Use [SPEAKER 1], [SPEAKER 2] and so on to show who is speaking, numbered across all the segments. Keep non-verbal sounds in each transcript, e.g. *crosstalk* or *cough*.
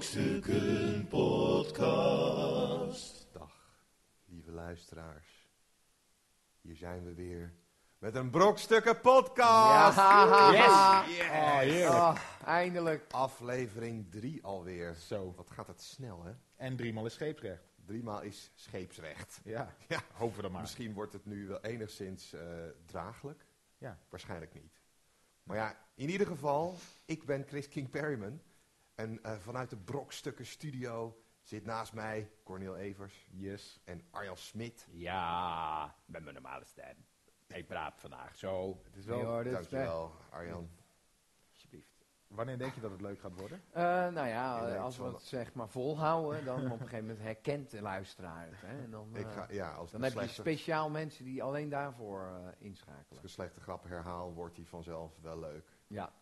[SPEAKER 1] Brokstukken Podcast.
[SPEAKER 2] Dag, lieve luisteraars. Hier zijn we weer met een Brokstukken Podcast.
[SPEAKER 3] Yes!
[SPEAKER 2] Oh, heerlijk.
[SPEAKER 3] Ah, eindelijk.
[SPEAKER 2] Aflevering 3 alweer.
[SPEAKER 3] Zo.
[SPEAKER 2] Wat gaat het snel, hè?
[SPEAKER 3] En driemaal is scheepsrecht.
[SPEAKER 2] Driemaal is scheepsrecht.
[SPEAKER 3] Ja.
[SPEAKER 2] *laughs* Ja.
[SPEAKER 3] Hopen we dan maar.
[SPEAKER 2] Misschien wordt het nu wel enigszins eh, draaglijk.
[SPEAKER 3] Ja.
[SPEAKER 2] Waarschijnlijk niet. Maar ja, in ieder geval, ik ben Chris King Perryman. En eh, vanuit de Brokstukken Studio zit naast mij Cornel Evers
[SPEAKER 3] Yes.
[SPEAKER 2] en Arjan Smit.
[SPEAKER 4] Ja, met mijn normale stem. Ik praat vandaag zo.
[SPEAKER 2] Het is
[SPEAKER 3] Nee hoor, dit is
[SPEAKER 2] Dankjewel, Arjan.
[SPEAKER 4] Alsjeblieft.
[SPEAKER 3] Wanneer denk je dat het leuk gaat worden?
[SPEAKER 5] Eh, nou ja,
[SPEAKER 2] Inderdaad,
[SPEAKER 5] eh, als we
[SPEAKER 2] van-
[SPEAKER 5] het zeg maar volhouden, dan op een gegeven moment herkent de luisteraar het. Hè? En dan eh,
[SPEAKER 2] Ik ga, ja, als
[SPEAKER 5] dan
[SPEAKER 2] de
[SPEAKER 5] heb je
[SPEAKER 2] slechte-
[SPEAKER 5] speciaal mensen die alleen daarvoor eh,
[SPEAKER 2] Als
[SPEAKER 5] inschakelen.
[SPEAKER 2] ik een slechte grap herhaal, wordt die vanzelf wel leuk.
[SPEAKER 5] Ja.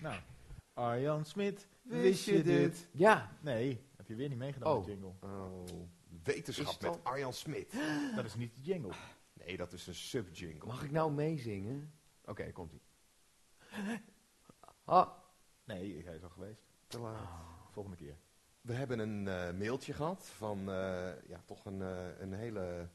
[SPEAKER 3] Nou. Arjan Smit, wist je dit?
[SPEAKER 5] ja,
[SPEAKER 3] Nee, heb je weer niet meegedaan met
[SPEAKER 5] Oh.
[SPEAKER 3] de jingle.
[SPEAKER 2] Oh,
[SPEAKER 5] Is
[SPEAKER 2] wetenschap
[SPEAKER 5] het dan-
[SPEAKER 2] met Arjan Smit.
[SPEAKER 3] Dat is niet de jingle.
[SPEAKER 2] Nee, dat is een subjingle.
[SPEAKER 5] mag ik nou meezingen? Oké, komt ie. Ah,
[SPEAKER 3] Nee, hij is al geweest.
[SPEAKER 2] Te
[SPEAKER 5] Oh.
[SPEAKER 2] laat.
[SPEAKER 3] Volgende keer.
[SPEAKER 2] We hebben een eh, mailtje gehad van eh, ja, toch een, eh, een hele...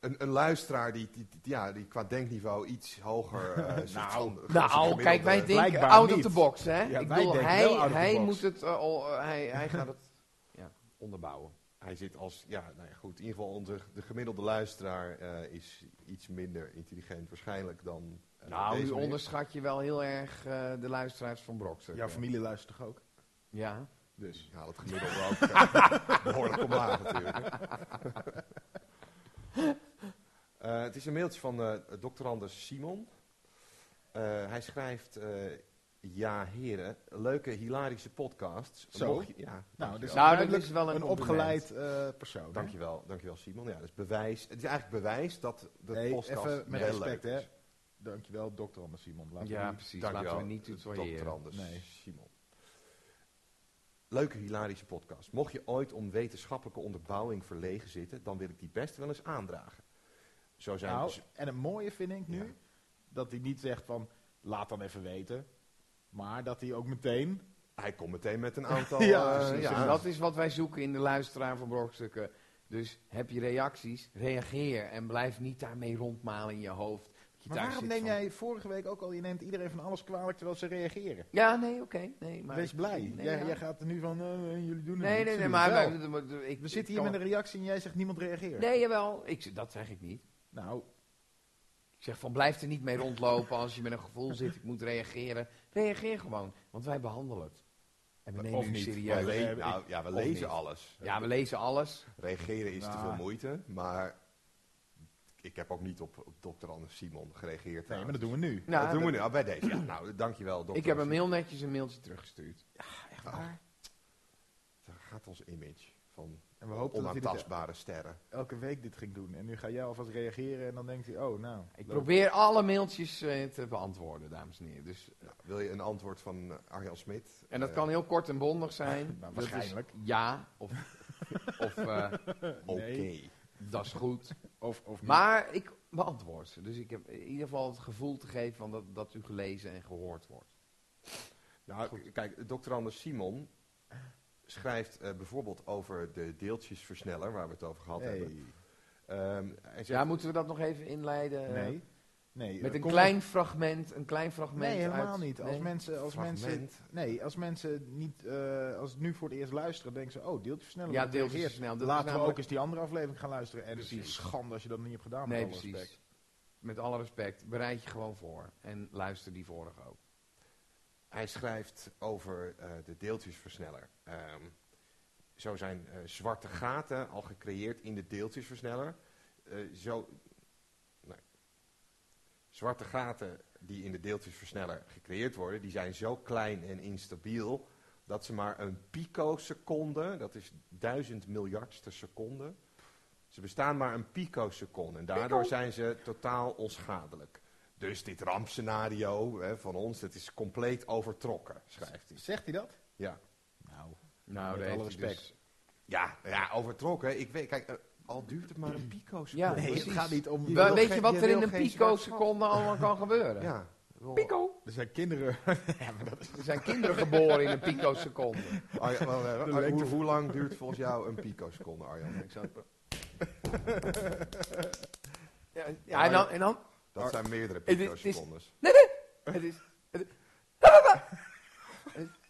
[SPEAKER 2] Een, een luisteraar die, die, die- ja, die qua denkniveau iets hoger
[SPEAKER 5] *laughs*
[SPEAKER 2] eh, zit
[SPEAKER 3] Nou,
[SPEAKER 2] dan- dan
[SPEAKER 5] nou,
[SPEAKER 2] gemiddelde.
[SPEAKER 5] kijk, wij denken
[SPEAKER 3] Blijkbaar
[SPEAKER 5] out
[SPEAKER 3] niet.
[SPEAKER 5] of the box, hè?
[SPEAKER 3] Ja,
[SPEAKER 5] ik
[SPEAKER 3] wij
[SPEAKER 5] bedoel,
[SPEAKER 3] denken
[SPEAKER 5] hij,
[SPEAKER 3] wel out of the
[SPEAKER 5] hij
[SPEAKER 3] box.
[SPEAKER 5] moet het, eh, al, eh, hij, hij gaat
[SPEAKER 3] *laughs*
[SPEAKER 5] het ja, onderbouwen.
[SPEAKER 2] Hij zit als... Ja, nou ja, goed. In ieder geval onze, de gemiddelde luisteraar eh, is iets minder intelligent waarschijnlijk dan... eh,
[SPEAKER 5] nou,
[SPEAKER 2] deze
[SPEAKER 5] nu
[SPEAKER 2] meneer.
[SPEAKER 5] onderschat je wel heel erg eh, de luisteraars van Brokster.
[SPEAKER 3] Jouw familie luistert toch ook?
[SPEAKER 5] Ja.
[SPEAKER 3] Dus.
[SPEAKER 2] Ja, dat gemiddelde ook eh, *laughs* behoorlijk omlaag natuurlijk. *laughs* Eh, het is een mailtje van eh doctorandus Simon. Eh, hij schrijft... eh, ja, heren, leuke, hilarische podcasts.
[SPEAKER 3] Zo.
[SPEAKER 2] Mocht je- ja,
[SPEAKER 3] Nou, dat is
[SPEAKER 5] Nou, dat
[SPEAKER 3] duidelijk
[SPEAKER 5] is wel een
[SPEAKER 3] een
[SPEAKER 5] compliment.
[SPEAKER 3] opgeleid eh, persoon. hè?
[SPEAKER 2] Dankjewel, dankjewel Simon. Ja, dat is bewijs. Het is eigenlijk bewijs dat de
[SPEAKER 3] Nee,
[SPEAKER 2] podcast
[SPEAKER 3] even met
[SPEAKER 2] heel
[SPEAKER 3] respect,
[SPEAKER 2] leuk
[SPEAKER 3] hè.
[SPEAKER 2] is.
[SPEAKER 3] Dankjewel, dokter Anders Simon. Laten we
[SPEAKER 5] Ja,
[SPEAKER 3] die-
[SPEAKER 5] precies.
[SPEAKER 2] Dankjewel,
[SPEAKER 5] Laten we niet tutoyeren.
[SPEAKER 2] doctorandus
[SPEAKER 3] Nee.
[SPEAKER 2] Simon. Leuke, hilarische podcast. Mocht je ooit om wetenschappelijke onderbouwing verlegen zitten, dan wil ik die best wel eens aandragen. Zo zijn
[SPEAKER 3] Nou,
[SPEAKER 2] dus-
[SPEAKER 3] en het mooie vind ik nu,
[SPEAKER 2] Ja.
[SPEAKER 3] dat hij niet zegt van, laat dan even weten. Maar dat hij ook meteen,
[SPEAKER 2] Hij komt meteen met
[SPEAKER 3] *laughs*
[SPEAKER 2] een aantal.
[SPEAKER 3] Ja,
[SPEAKER 2] eh,
[SPEAKER 3] precies.
[SPEAKER 2] ja.
[SPEAKER 5] En dat is wat wij zoeken in de luisteraar van Brokstukken. Dus heb je reacties, reageer en blijf niet daarmee rondmalen in je hoofd. Dat je
[SPEAKER 3] maar
[SPEAKER 5] daar
[SPEAKER 3] waarom
[SPEAKER 5] zit
[SPEAKER 3] neem
[SPEAKER 5] van-
[SPEAKER 3] jij vorige week ook al, je neemt iedereen van alles kwalijk terwijl ze reageren.
[SPEAKER 5] Ja, nee, oké. nee, maar
[SPEAKER 3] Wees
[SPEAKER 5] ik-
[SPEAKER 3] blij.
[SPEAKER 5] Nee,
[SPEAKER 3] jij,
[SPEAKER 5] ja.
[SPEAKER 3] jij gaat er nu van, eh, eh, jullie doen het
[SPEAKER 5] nee,
[SPEAKER 3] niet,
[SPEAKER 5] nee, nee,
[SPEAKER 3] ze doen het
[SPEAKER 5] maar
[SPEAKER 3] wel.
[SPEAKER 5] wij- maar ik- ik
[SPEAKER 3] We zitten hier
[SPEAKER 5] kan-
[SPEAKER 3] met een reactie en jij zegt niemand reageert.
[SPEAKER 5] Nee, jawel. Ik, z- dat zeg ik niet.
[SPEAKER 3] Nou,
[SPEAKER 5] Ik zeg van blijf er niet mee rondlopen als je met een gevoel zit, ik moet reageren. Reageer gewoon, want wij behandelen het. En we nemen
[SPEAKER 3] Of
[SPEAKER 5] u
[SPEAKER 3] niet.
[SPEAKER 2] Ja,
[SPEAKER 5] serieus.
[SPEAKER 2] we,
[SPEAKER 3] Ja,
[SPEAKER 2] nou, ja, we
[SPEAKER 5] of
[SPEAKER 2] lezen
[SPEAKER 5] niet.
[SPEAKER 2] alles.
[SPEAKER 5] Ja, we lezen alles.
[SPEAKER 2] Reageren is te
[SPEAKER 3] Nou.
[SPEAKER 2] veel moeite, maar ik heb ook niet op, op dokter Anders Simon gereageerd.
[SPEAKER 3] nee,
[SPEAKER 2] trouwens.
[SPEAKER 3] maar dat doen we nu.
[SPEAKER 5] Nou,
[SPEAKER 2] dat doen we
[SPEAKER 5] dat-
[SPEAKER 2] nu. Ah, bij deze. Ja, nou, dankjewel, dokter.
[SPEAKER 5] Ik heb hem
[SPEAKER 2] Anders
[SPEAKER 5] heel netjes een mailtje teruggestuurd.
[SPEAKER 3] Echt waar.
[SPEAKER 2] Simon. Daar gaat ons image van
[SPEAKER 3] En we hopen dat hij dit
[SPEAKER 2] onaantastbare sterren.
[SPEAKER 3] elke week dit ging doen. En nu ga jij alvast reageren en dan denkt hij, oh nou.
[SPEAKER 5] Ik
[SPEAKER 3] leuk.
[SPEAKER 5] probeer alle mailtjes eh, te beantwoorden, dames en heren. Dus
[SPEAKER 2] Nou, wil je een antwoord van eh, Arjan Smit?
[SPEAKER 5] En dat
[SPEAKER 2] Eh,
[SPEAKER 5] kan heel kort en bondig zijn.
[SPEAKER 3] Nou,
[SPEAKER 5] Dat is
[SPEAKER 3] waarschijnlijk.
[SPEAKER 5] ja, of, of eh,
[SPEAKER 2] Oké.
[SPEAKER 3] Nee.
[SPEAKER 5] dat is goed.
[SPEAKER 3] Of, of niet.
[SPEAKER 5] Maar ik beantwoord ze. Dus ik heb in ieder geval het gevoel te geven van dat, dat u gelezen en gehoord wordt.
[SPEAKER 2] Nou, k- kijk, dokter Anders Simon schrijft eh, bijvoorbeeld over de deeltjesversneller, waar we het over gehad
[SPEAKER 3] Hey.
[SPEAKER 2] hebben. Ehm, hij
[SPEAKER 5] Dus Ja,
[SPEAKER 2] zegt,
[SPEAKER 5] moeten we dat nog even inleiden? eh,
[SPEAKER 3] Nee. nee.
[SPEAKER 5] Met
[SPEAKER 3] eh,
[SPEAKER 5] een
[SPEAKER 3] kom-
[SPEAKER 5] klein fragment, een klein fragment
[SPEAKER 3] Nee, helemaal
[SPEAKER 5] uit-
[SPEAKER 3] niet. Als
[SPEAKER 5] Nee?
[SPEAKER 3] mensen, als mensen,
[SPEAKER 2] Fragment.
[SPEAKER 3] nee, als mensen niet, eh, als het nu voor het eerst luisteren, denken ze, oh, deeltje versnellen.
[SPEAKER 5] Ja,
[SPEAKER 3] want het
[SPEAKER 5] deeltjes
[SPEAKER 3] reageert.
[SPEAKER 5] versnellen, dat is
[SPEAKER 3] Laten we
[SPEAKER 5] namelijk-
[SPEAKER 3] ook eens die andere aflevering gaan luisteren. En het is
[SPEAKER 5] Precies.
[SPEAKER 3] schande als je dat niet hebt gedaan.
[SPEAKER 5] Nee,
[SPEAKER 3] met alle
[SPEAKER 5] precies.
[SPEAKER 3] respect.
[SPEAKER 5] Met alle respect, bereid je gewoon voor. En luister die vorige ook.
[SPEAKER 2] hij schrijft over eh, de deeltjesversneller. Ehm, zo zijn eh, zwarte gaten al gecreëerd in de deeltjesversneller. Eh, zo, nee. Zwarte gaten die in de deeltjesversneller gecreëerd worden, die zijn zo klein en instabiel dat ze maar een picoseconde, dat is duizend miljardste seconde, ze bestaan maar een picoseconde en daardoor zijn ze totaal onschadelijk. Dus dit rampscenario hè, van ons, dat is compleet overtrokken, schrijft hij.
[SPEAKER 3] Zegt hij dat?
[SPEAKER 2] Ja.
[SPEAKER 3] Nou,
[SPEAKER 5] Nou,
[SPEAKER 3] Met
[SPEAKER 5] daar
[SPEAKER 3] alle
[SPEAKER 5] heeft hij
[SPEAKER 3] respect.
[SPEAKER 5] dus-
[SPEAKER 2] Ja, ja overtrokken. Ik weet, kijk, eh, al duurt het maar een pico seconde.
[SPEAKER 5] Ja,
[SPEAKER 3] nee,
[SPEAKER 5] precies.
[SPEAKER 3] het gaat niet om...
[SPEAKER 5] Wel,
[SPEAKER 2] wil
[SPEAKER 5] weet je
[SPEAKER 2] geen-
[SPEAKER 5] wat
[SPEAKER 2] je
[SPEAKER 5] er in
[SPEAKER 2] wil
[SPEAKER 5] een
[SPEAKER 2] geen zwart
[SPEAKER 5] pico-seconde allemaal kan
[SPEAKER 2] *laughs*
[SPEAKER 5] gebeuren?
[SPEAKER 2] Ja. wel-
[SPEAKER 5] Pico.
[SPEAKER 3] Er zijn kinderen...
[SPEAKER 5] Er zijn kinderen geboren in een pico-seconde.
[SPEAKER 2] Arjan, eh,
[SPEAKER 5] *laughs*
[SPEAKER 2] Arjan,
[SPEAKER 3] lengte
[SPEAKER 2] hoe, hoe lang duurt volgens jou een pico seconde, Arjan? Ik zou-
[SPEAKER 5] Ja, ja, en dan... En dan
[SPEAKER 2] Dat zijn meerdere
[SPEAKER 5] Het is-
[SPEAKER 2] pico secondes. *laughs*
[SPEAKER 5] het is, het,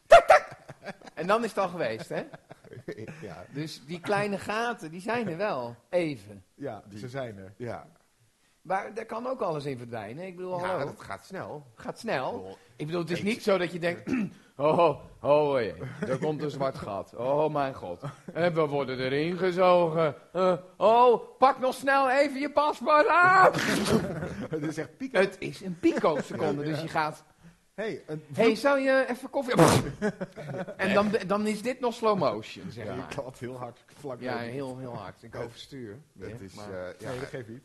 [SPEAKER 5] tak, tak. En dan is het al geweest, hè?
[SPEAKER 2] ja,
[SPEAKER 5] Dus die kleine gaten, die zijn er wel. Even.
[SPEAKER 3] Ja, ze zijn er.
[SPEAKER 2] ja.
[SPEAKER 5] Maar daar kan ook alles in verdwijnen. Ik bedoel,
[SPEAKER 2] ja,
[SPEAKER 5] hallo,
[SPEAKER 2] dat gaat snel.
[SPEAKER 5] gaat snel.
[SPEAKER 2] Lol.
[SPEAKER 5] Ik bedoel, het is niet zo dat je denkt... *clears throat* Oh, oh, oh jee, daar komt een zwart gat. Oh, mijn god. En we worden erin gezogen. Eh, oh, pak nog snel even je paspoort aan.
[SPEAKER 3] Het is echt pico.
[SPEAKER 5] *laughs* Het is een pico-seconde, dus je gaat...
[SPEAKER 3] hey, een
[SPEAKER 5] Hé, hey, zou je even koffie... *laughs* en dan, dan is dit nog slow motion, zeg
[SPEAKER 3] Ja, je
[SPEAKER 5] maar.
[SPEAKER 3] klapt heel hard vlak
[SPEAKER 5] Ja,
[SPEAKER 3] over.
[SPEAKER 5] heel, heel hard. Ik overstuur.
[SPEAKER 2] Het
[SPEAKER 5] weer,
[SPEAKER 2] is,
[SPEAKER 5] maar-
[SPEAKER 2] eh, ja,
[SPEAKER 3] Nee, dat geeft niet.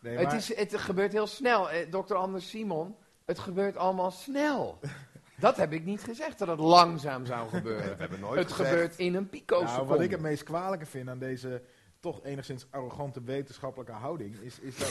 [SPEAKER 3] Nee,
[SPEAKER 5] Ah. het,
[SPEAKER 3] maar-
[SPEAKER 5] is, het gebeurt heel snel. Eh, Dr. Anders Simon, het gebeurt allemaal snel. Dat heb ik niet gezegd, dat het langzaam
[SPEAKER 3] *laughs*
[SPEAKER 5] zou
[SPEAKER 2] we
[SPEAKER 5] gebeuren.
[SPEAKER 2] hebben nooit
[SPEAKER 5] Het
[SPEAKER 2] gezegd-
[SPEAKER 5] gebeurt in een
[SPEAKER 3] Nou,
[SPEAKER 5] pico-seconde.
[SPEAKER 3] wat ik het meest kwalijke vind aan deze toch enigszins arrogante wetenschappelijke houding is, is dat.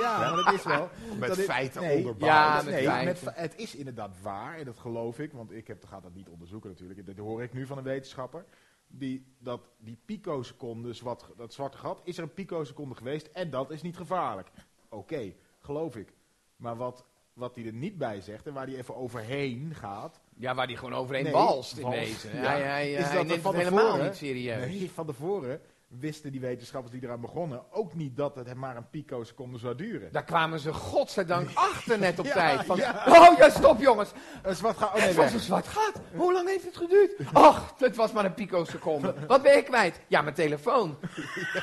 [SPEAKER 3] ja, maar dat is wel.
[SPEAKER 2] Met
[SPEAKER 3] dat dit-
[SPEAKER 2] feiten
[SPEAKER 3] nee,
[SPEAKER 2] onderbouwd.
[SPEAKER 5] Ja,
[SPEAKER 3] dat-
[SPEAKER 5] met
[SPEAKER 3] nee,
[SPEAKER 5] feiten.
[SPEAKER 3] fe- het is inderdaad waar en dat geloof ik, want ik heb, ga dat niet onderzoeken natuurlijk. Dat hoor ik nu van een wetenschapper. Die, dat die picoseconde, zwart, dat zwarte gat, is er een picoseconde geweest en dat is niet gevaarlijk. Oké, geloof ik. Maar wat, wat hij er niet bij zegt en waar hij even overheen gaat,
[SPEAKER 5] Ja, waar die gewoon overheen
[SPEAKER 3] Nee,
[SPEAKER 5] balst in
[SPEAKER 3] walst,
[SPEAKER 5] deze.
[SPEAKER 3] ja.
[SPEAKER 5] Hij, hij,
[SPEAKER 3] Is
[SPEAKER 5] hij
[SPEAKER 3] dat er
[SPEAKER 5] neemt
[SPEAKER 3] van
[SPEAKER 5] het helemaal
[SPEAKER 3] tevoren?
[SPEAKER 5] niet serieus.
[SPEAKER 3] Nee, van tevoren wisten die wetenschappers die eraan begonnen ook niet dat het maar een picoseconde zou duren.
[SPEAKER 5] Daar kwamen ze godzijdank achter net op
[SPEAKER 3] *laughs* Ja,
[SPEAKER 5] tijd. Van,
[SPEAKER 3] ja.
[SPEAKER 5] Oh ja, stop jongens.
[SPEAKER 3] Een zwart gaat. Oh nee,
[SPEAKER 5] Nou. Het was
[SPEAKER 3] weg.
[SPEAKER 5] een zwart gat. Hoe lang heeft het geduurd? Ach, het was maar een picoseconde. Wat ben ik kwijt? Ja, mijn telefoon.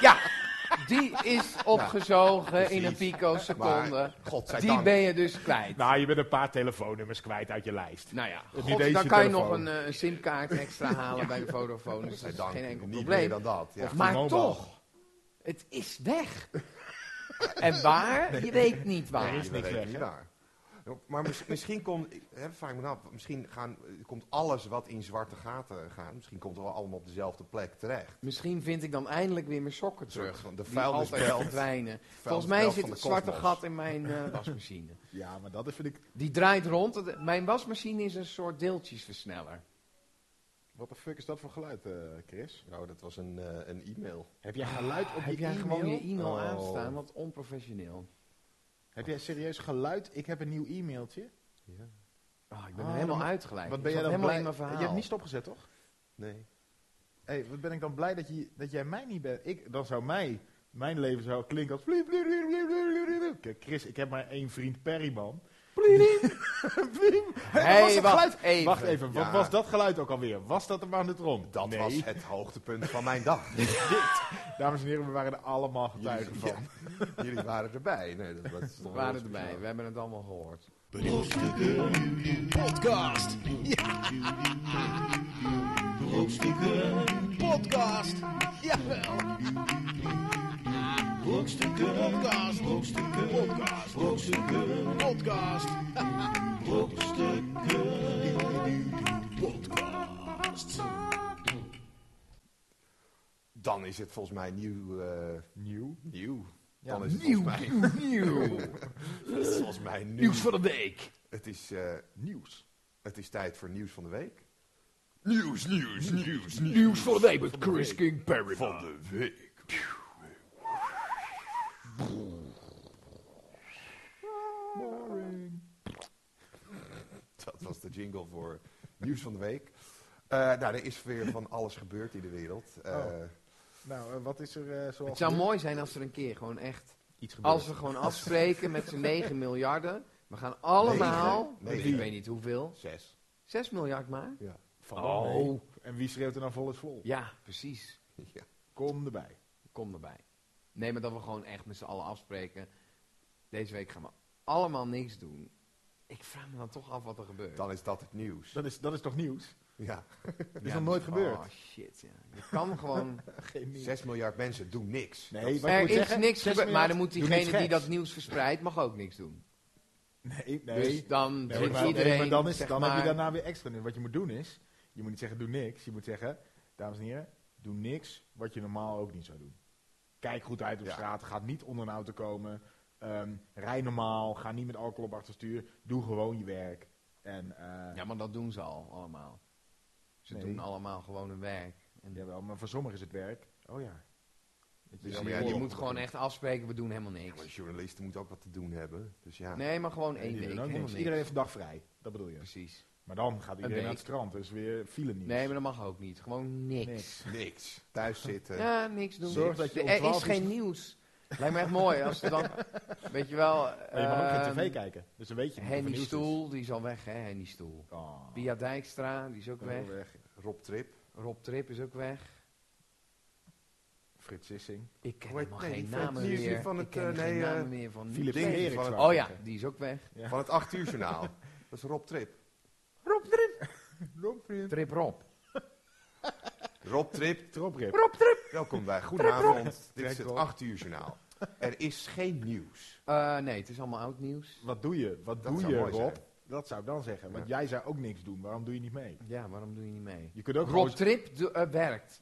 [SPEAKER 5] Ja, die is opgezogen in een
[SPEAKER 2] Nou, precies.
[SPEAKER 5] picoseconde.
[SPEAKER 2] Maar, godzijdank.
[SPEAKER 5] Die ben je dus kwijt.
[SPEAKER 3] Nou, je bent een paar telefoonnummers kwijt uit je lijst.
[SPEAKER 5] Nou ja,
[SPEAKER 3] Het
[SPEAKER 5] god,
[SPEAKER 3] idee is
[SPEAKER 5] dan
[SPEAKER 3] je
[SPEAKER 5] kan je nog
[SPEAKER 3] telefoon.
[SPEAKER 5] een eh, een simkaart
[SPEAKER 2] *laughs*
[SPEAKER 5] extra halen bij de Vodafone. Dus dat is
[SPEAKER 2] Godzijdank,
[SPEAKER 5] geen enkel
[SPEAKER 2] niet
[SPEAKER 5] probleem.
[SPEAKER 2] meer dan dat. Ja.
[SPEAKER 3] Of
[SPEAKER 5] maar
[SPEAKER 3] T-Mobile.
[SPEAKER 5] toch, het is weg.
[SPEAKER 2] *laughs*
[SPEAKER 5] en waar? Je weet niet waar.
[SPEAKER 3] Nee. is
[SPEAKER 2] dat
[SPEAKER 3] niks
[SPEAKER 2] weet
[SPEAKER 3] weg,
[SPEAKER 2] ik niet
[SPEAKER 3] hè?
[SPEAKER 2] waar. Ja, Maar mis- misschien komt, ik- hè, vraag ik me af, misschien gaan, eh, komt alles wat in zwarte gaten gaat, misschien komt het wel allemaal op dezelfde plek terecht.
[SPEAKER 5] Misschien vind ik dan eindelijk weer mijn sokken
[SPEAKER 2] Terug
[SPEAKER 5] terug.
[SPEAKER 2] van de
[SPEAKER 5] Die altijd
[SPEAKER 2] vuilnisbelt.
[SPEAKER 5] verdwijnen. Volgens
[SPEAKER 2] Vuilnisbelt
[SPEAKER 5] mij
[SPEAKER 2] van
[SPEAKER 5] zit
[SPEAKER 2] de
[SPEAKER 5] het zwarte
[SPEAKER 2] kosmos.
[SPEAKER 5] gat in mijn
[SPEAKER 2] *laughs*
[SPEAKER 5] eh, wasmachine.
[SPEAKER 3] Ja, maar dat is, vind ik.
[SPEAKER 5] Die draait rond. Het- Mijn wasmachine is een soort deeltjesversneller.
[SPEAKER 3] Wat de fuck is dat voor geluid, eh, Chris?
[SPEAKER 2] Nou, dat was een, eh, een e-mail.
[SPEAKER 3] Heb jij geluid op
[SPEAKER 5] Ah, Heb
[SPEAKER 3] je
[SPEAKER 5] jij
[SPEAKER 3] e-mail?
[SPEAKER 5] gewoon je e-mail
[SPEAKER 2] Oh.
[SPEAKER 5] aanstaan? Wat onprofessioneel.
[SPEAKER 3] Heb jij serieus geluid? Ik heb een nieuw e-mailtje.
[SPEAKER 2] Ja.
[SPEAKER 5] Ah, ik ben
[SPEAKER 3] Ah,
[SPEAKER 5] er helemaal
[SPEAKER 3] dan-
[SPEAKER 5] uitgeleid.
[SPEAKER 3] Wat
[SPEAKER 5] Ik
[SPEAKER 3] ben jij
[SPEAKER 5] zat
[SPEAKER 3] dan
[SPEAKER 5] helemaal
[SPEAKER 3] blij?
[SPEAKER 5] in mijn verhaal.
[SPEAKER 3] Je hebt niet stopgezet, toch?
[SPEAKER 2] Nee.
[SPEAKER 3] Hé, wat ben ik dan blij dat, je, dat jij mij niet bent? Ik, dan zou mij, mijn leven zou klinken als. bliep, bliep, bliep, bliep, bliep, bliep, bliep. Kijk, Chris, ik heb maar één vriend Perryman. *laughs* Bliep. Hé, wat
[SPEAKER 5] Hey,
[SPEAKER 3] was dat
[SPEAKER 5] wacht
[SPEAKER 3] geluid?
[SPEAKER 5] even.
[SPEAKER 3] Wacht even, wat
[SPEAKER 2] Ja.
[SPEAKER 3] was dat geluid ook alweer? Was dat de magnetron?
[SPEAKER 2] Dat
[SPEAKER 3] nee.
[SPEAKER 2] was het hoogtepunt van mijn
[SPEAKER 5] *laughs*
[SPEAKER 2] dag.
[SPEAKER 3] Dames en heren, we waren er allemaal getuigen
[SPEAKER 2] Jullie,
[SPEAKER 3] van.
[SPEAKER 2] ja, *laughs* jullie waren erbij. Nee, dat, dat is toch
[SPEAKER 5] We
[SPEAKER 2] wel
[SPEAKER 5] waren
[SPEAKER 2] speciaal.
[SPEAKER 5] erbij. We hebben het allemaal gehoord.
[SPEAKER 1] Brokstukken podcast. Ja. Brokstukken podcast. Jawel. Brokstukken podcast. Brokstukken podcast. Brokstukken podcast. Brokstukken podcast.
[SPEAKER 2] Dan is het volgens mij nieuw. eh,
[SPEAKER 3] Nieuw.
[SPEAKER 2] nieuw.
[SPEAKER 3] Ja,
[SPEAKER 2] Dan is het
[SPEAKER 3] nieuw,
[SPEAKER 2] volgens mij, *laughs*
[SPEAKER 5] *laughs* Nieuw.
[SPEAKER 2] het is volgens mij nieuw.
[SPEAKER 5] Nieuws van de week.
[SPEAKER 2] Het is, eh,
[SPEAKER 3] Nieuws.
[SPEAKER 2] het is tijd voor nieuws van de week.
[SPEAKER 1] Nieuws, nieuws, nieuws, nieuws.
[SPEAKER 5] Nieuws van de week met Chris King Perry.
[SPEAKER 1] Van de week.
[SPEAKER 2] Dat was de jingle voor nieuws van de week. Eh, nou, er is weer van alles gebeurd in de wereld. Eh,
[SPEAKER 3] Oh. Nou, eh, wat is er eh, zoals...
[SPEAKER 5] Het zou
[SPEAKER 3] nu?
[SPEAKER 5] mooi zijn als er een keer gewoon echt...
[SPEAKER 3] Iets gebeurd.
[SPEAKER 5] Als we gewoon afspreken met z'n 9 miljarden. We gaan allemaal...
[SPEAKER 2] Negen? Negen.
[SPEAKER 5] Ik weet niet hoeveel.
[SPEAKER 2] Zes. *laughs*
[SPEAKER 5] 6 miljard maar.
[SPEAKER 2] Ja.
[SPEAKER 3] Van, oh. En wie schreeuwt er nou vol is vol?
[SPEAKER 5] Ja, precies.
[SPEAKER 2] ja.
[SPEAKER 3] Kom erbij.
[SPEAKER 5] Kom erbij. Nee, maar dat we gewoon echt met z'n allen afspreken. Deze week gaan we allemaal niks doen. Ik vraag me dan toch af wat er gebeurt.
[SPEAKER 2] Dan is dat het nieuws.
[SPEAKER 3] Dat is, dat is toch nieuws?
[SPEAKER 2] Ja. *laughs*
[SPEAKER 3] Dat is nog nooit gebeurd.
[SPEAKER 5] Oh shit, ja. Je
[SPEAKER 3] *laughs*
[SPEAKER 5] kan gewoon...
[SPEAKER 3] Geen nieuws.
[SPEAKER 2] Zes miljard mensen doen niks.
[SPEAKER 3] Nee, wat ik
[SPEAKER 5] er
[SPEAKER 3] moet
[SPEAKER 5] is
[SPEAKER 3] zeggen,
[SPEAKER 5] niks
[SPEAKER 3] zes
[SPEAKER 5] gebeurd, maar
[SPEAKER 3] miljard,
[SPEAKER 5] dan moet
[SPEAKER 3] doe niks
[SPEAKER 5] diegene die
[SPEAKER 3] geks.
[SPEAKER 5] dat nieuws verspreidt, mag ook niks doen.
[SPEAKER 3] Nee, nee.
[SPEAKER 5] Dus dan
[SPEAKER 3] Nee,
[SPEAKER 5] zit
[SPEAKER 3] maar, nee,
[SPEAKER 5] iedereen.
[SPEAKER 3] maar dan, is,
[SPEAKER 5] zeg
[SPEAKER 3] dan heb
[SPEAKER 5] maar-
[SPEAKER 3] je daarna weer extra. Wat je moet doen is, je moet niet zeggen doe niks. Je moet zeggen, dames en heren, doe niks wat je normaal ook niet zou doen. Kijk goed uit op
[SPEAKER 2] Ja.
[SPEAKER 3] straat, ga niet onder een auto komen. ehm, rij normaal, ga niet met alcohol op achterstuur. Doe gewoon je werk. En, eh,
[SPEAKER 5] Ja, maar dat doen ze al allemaal. Ze
[SPEAKER 3] Nee.
[SPEAKER 5] doen allemaal gewoon hun werk. En
[SPEAKER 3] jawel, maar voor sommigen is het werk. Oh ja. Dat
[SPEAKER 5] dus
[SPEAKER 2] Ja,
[SPEAKER 5] je,
[SPEAKER 2] maar ja,
[SPEAKER 5] je
[SPEAKER 2] die-
[SPEAKER 5] moet gewoon echt afspreken, we doen helemaal
[SPEAKER 2] Ja, maar
[SPEAKER 5] niks.
[SPEAKER 2] journalisten moeten ook wat te doen hebben. Dus ja.
[SPEAKER 5] Nee, maar gewoon één
[SPEAKER 3] Die doen
[SPEAKER 5] week.
[SPEAKER 3] ook niks.
[SPEAKER 5] helemaal niks.
[SPEAKER 3] Iedereen heeft een dag vrij. Dat bedoel je.
[SPEAKER 5] Precies.
[SPEAKER 3] Maar dan gaat iedereen
[SPEAKER 5] week.
[SPEAKER 3] naar het strand. Dus weer file niet.
[SPEAKER 5] Nee, maar dat mag ook niet. Gewoon niks.
[SPEAKER 3] Niks. *laughs*
[SPEAKER 2] Niks. Thuis zitten.
[SPEAKER 5] Ja, niks doen.
[SPEAKER 3] Zorg
[SPEAKER 5] niks.
[SPEAKER 3] dat je om
[SPEAKER 5] er
[SPEAKER 3] 12
[SPEAKER 5] is
[SPEAKER 3] uur-
[SPEAKER 5] geen nieuws. Lijkt me echt mooi als ze
[SPEAKER 3] *laughs*
[SPEAKER 5] dan. Weet je wel.
[SPEAKER 3] Maar je mag ook geen
[SPEAKER 5] ehm,
[SPEAKER 3] tv kijken. Dus dan weet je niet of er
[SPEAKER 5] Henny
[SPEAKER 3] nieuws is.
[SPEAKER 5] Stoel, die is al weg, hè? Henny Stoel.
[SPEAKER 3] Oh.
[SPEAKER 5] Pia Dijkstra, die is ook weg.
[SPEAKER 2] Weg. Rob Trip.
[SPEAKER 5] Rob Trip is ook weg.
[SPEAKER 3] Frits Sissing.
[SPEAKER 5] Ik ken
[SPEAKER 2] Hoe heet-
[SPEAKER 5] helemaal
[SPEAKER 2] nee,
[SPEAKER 5] geen
[SPEAKER 2] die
[SPEAKER 5] namen
[SPEAKER 2] vent- die is
[SPEAKER 5] meer.
[SPEAKER 2] die van
[SPEAKER 5] ik
[SPEAKER 2] het,
[SPEAKER 5] ken
[SPEAKER 2] eh,
[SPEAKER 5] geen
[SPEAKER 2] nee, eh,
[SPEAKER 5] namen meer van
[SPEAKER 3] Philip
[SPEAKER 2] Ding
[SPEAKER 3] Eriks
[SPEAKER 2] van het-
[SPEAKER 3] wou ik
[SPEAKER 5] Oh ja,
[SPEAKER 3] zeggen.
[SPEAKER 5] die is ook weg.
[SPEAKER 3] Ja.
[SPEAKER 2] Van het 8 uur
[SPEAKER 3] *laughs*
[SPEAKER 2] journaal. Dat is Rob Trip.
[SPEAKER 5] Rob Trip.
[SPEAKER 3] Rob Trip.
[SPEAKER 5] Trip Rob.
[SPEAKER 2] Rob Trip.
[SPEAKER 5] Rob Trip.
[SPEAKER 2] Welkom bij Goedenavond. Dit is het 8 uur journaal. Er is geen nieuws.
[SPEAKER 5] Eh, nee, het is allemaal oud nieuws.
[SPEAKER 3] Wat doe je? Wat
[SPEAKER 2] Dat
[SPEAKER 3] doe
[SPEAKER 2] zou
[SPEAKER 3] je,
[SPEAKER 2] mooi
[SPEAKER 3] Rob?
[SPEAKER 2] zijn.
[SPEAKER 3] Dat zou ik dan zeggen. Want jij zou ook niks doen. Waarom doe je niet mee?
[SPEAKER 5] Ja, waarom doe je niet mee?
[SPEAKER 3] Je kunt ook
[SPEAKER 5] Rob
[SPEAKER 3] gewoon...
[SPEAKER 5] Trip do- eh, werkt.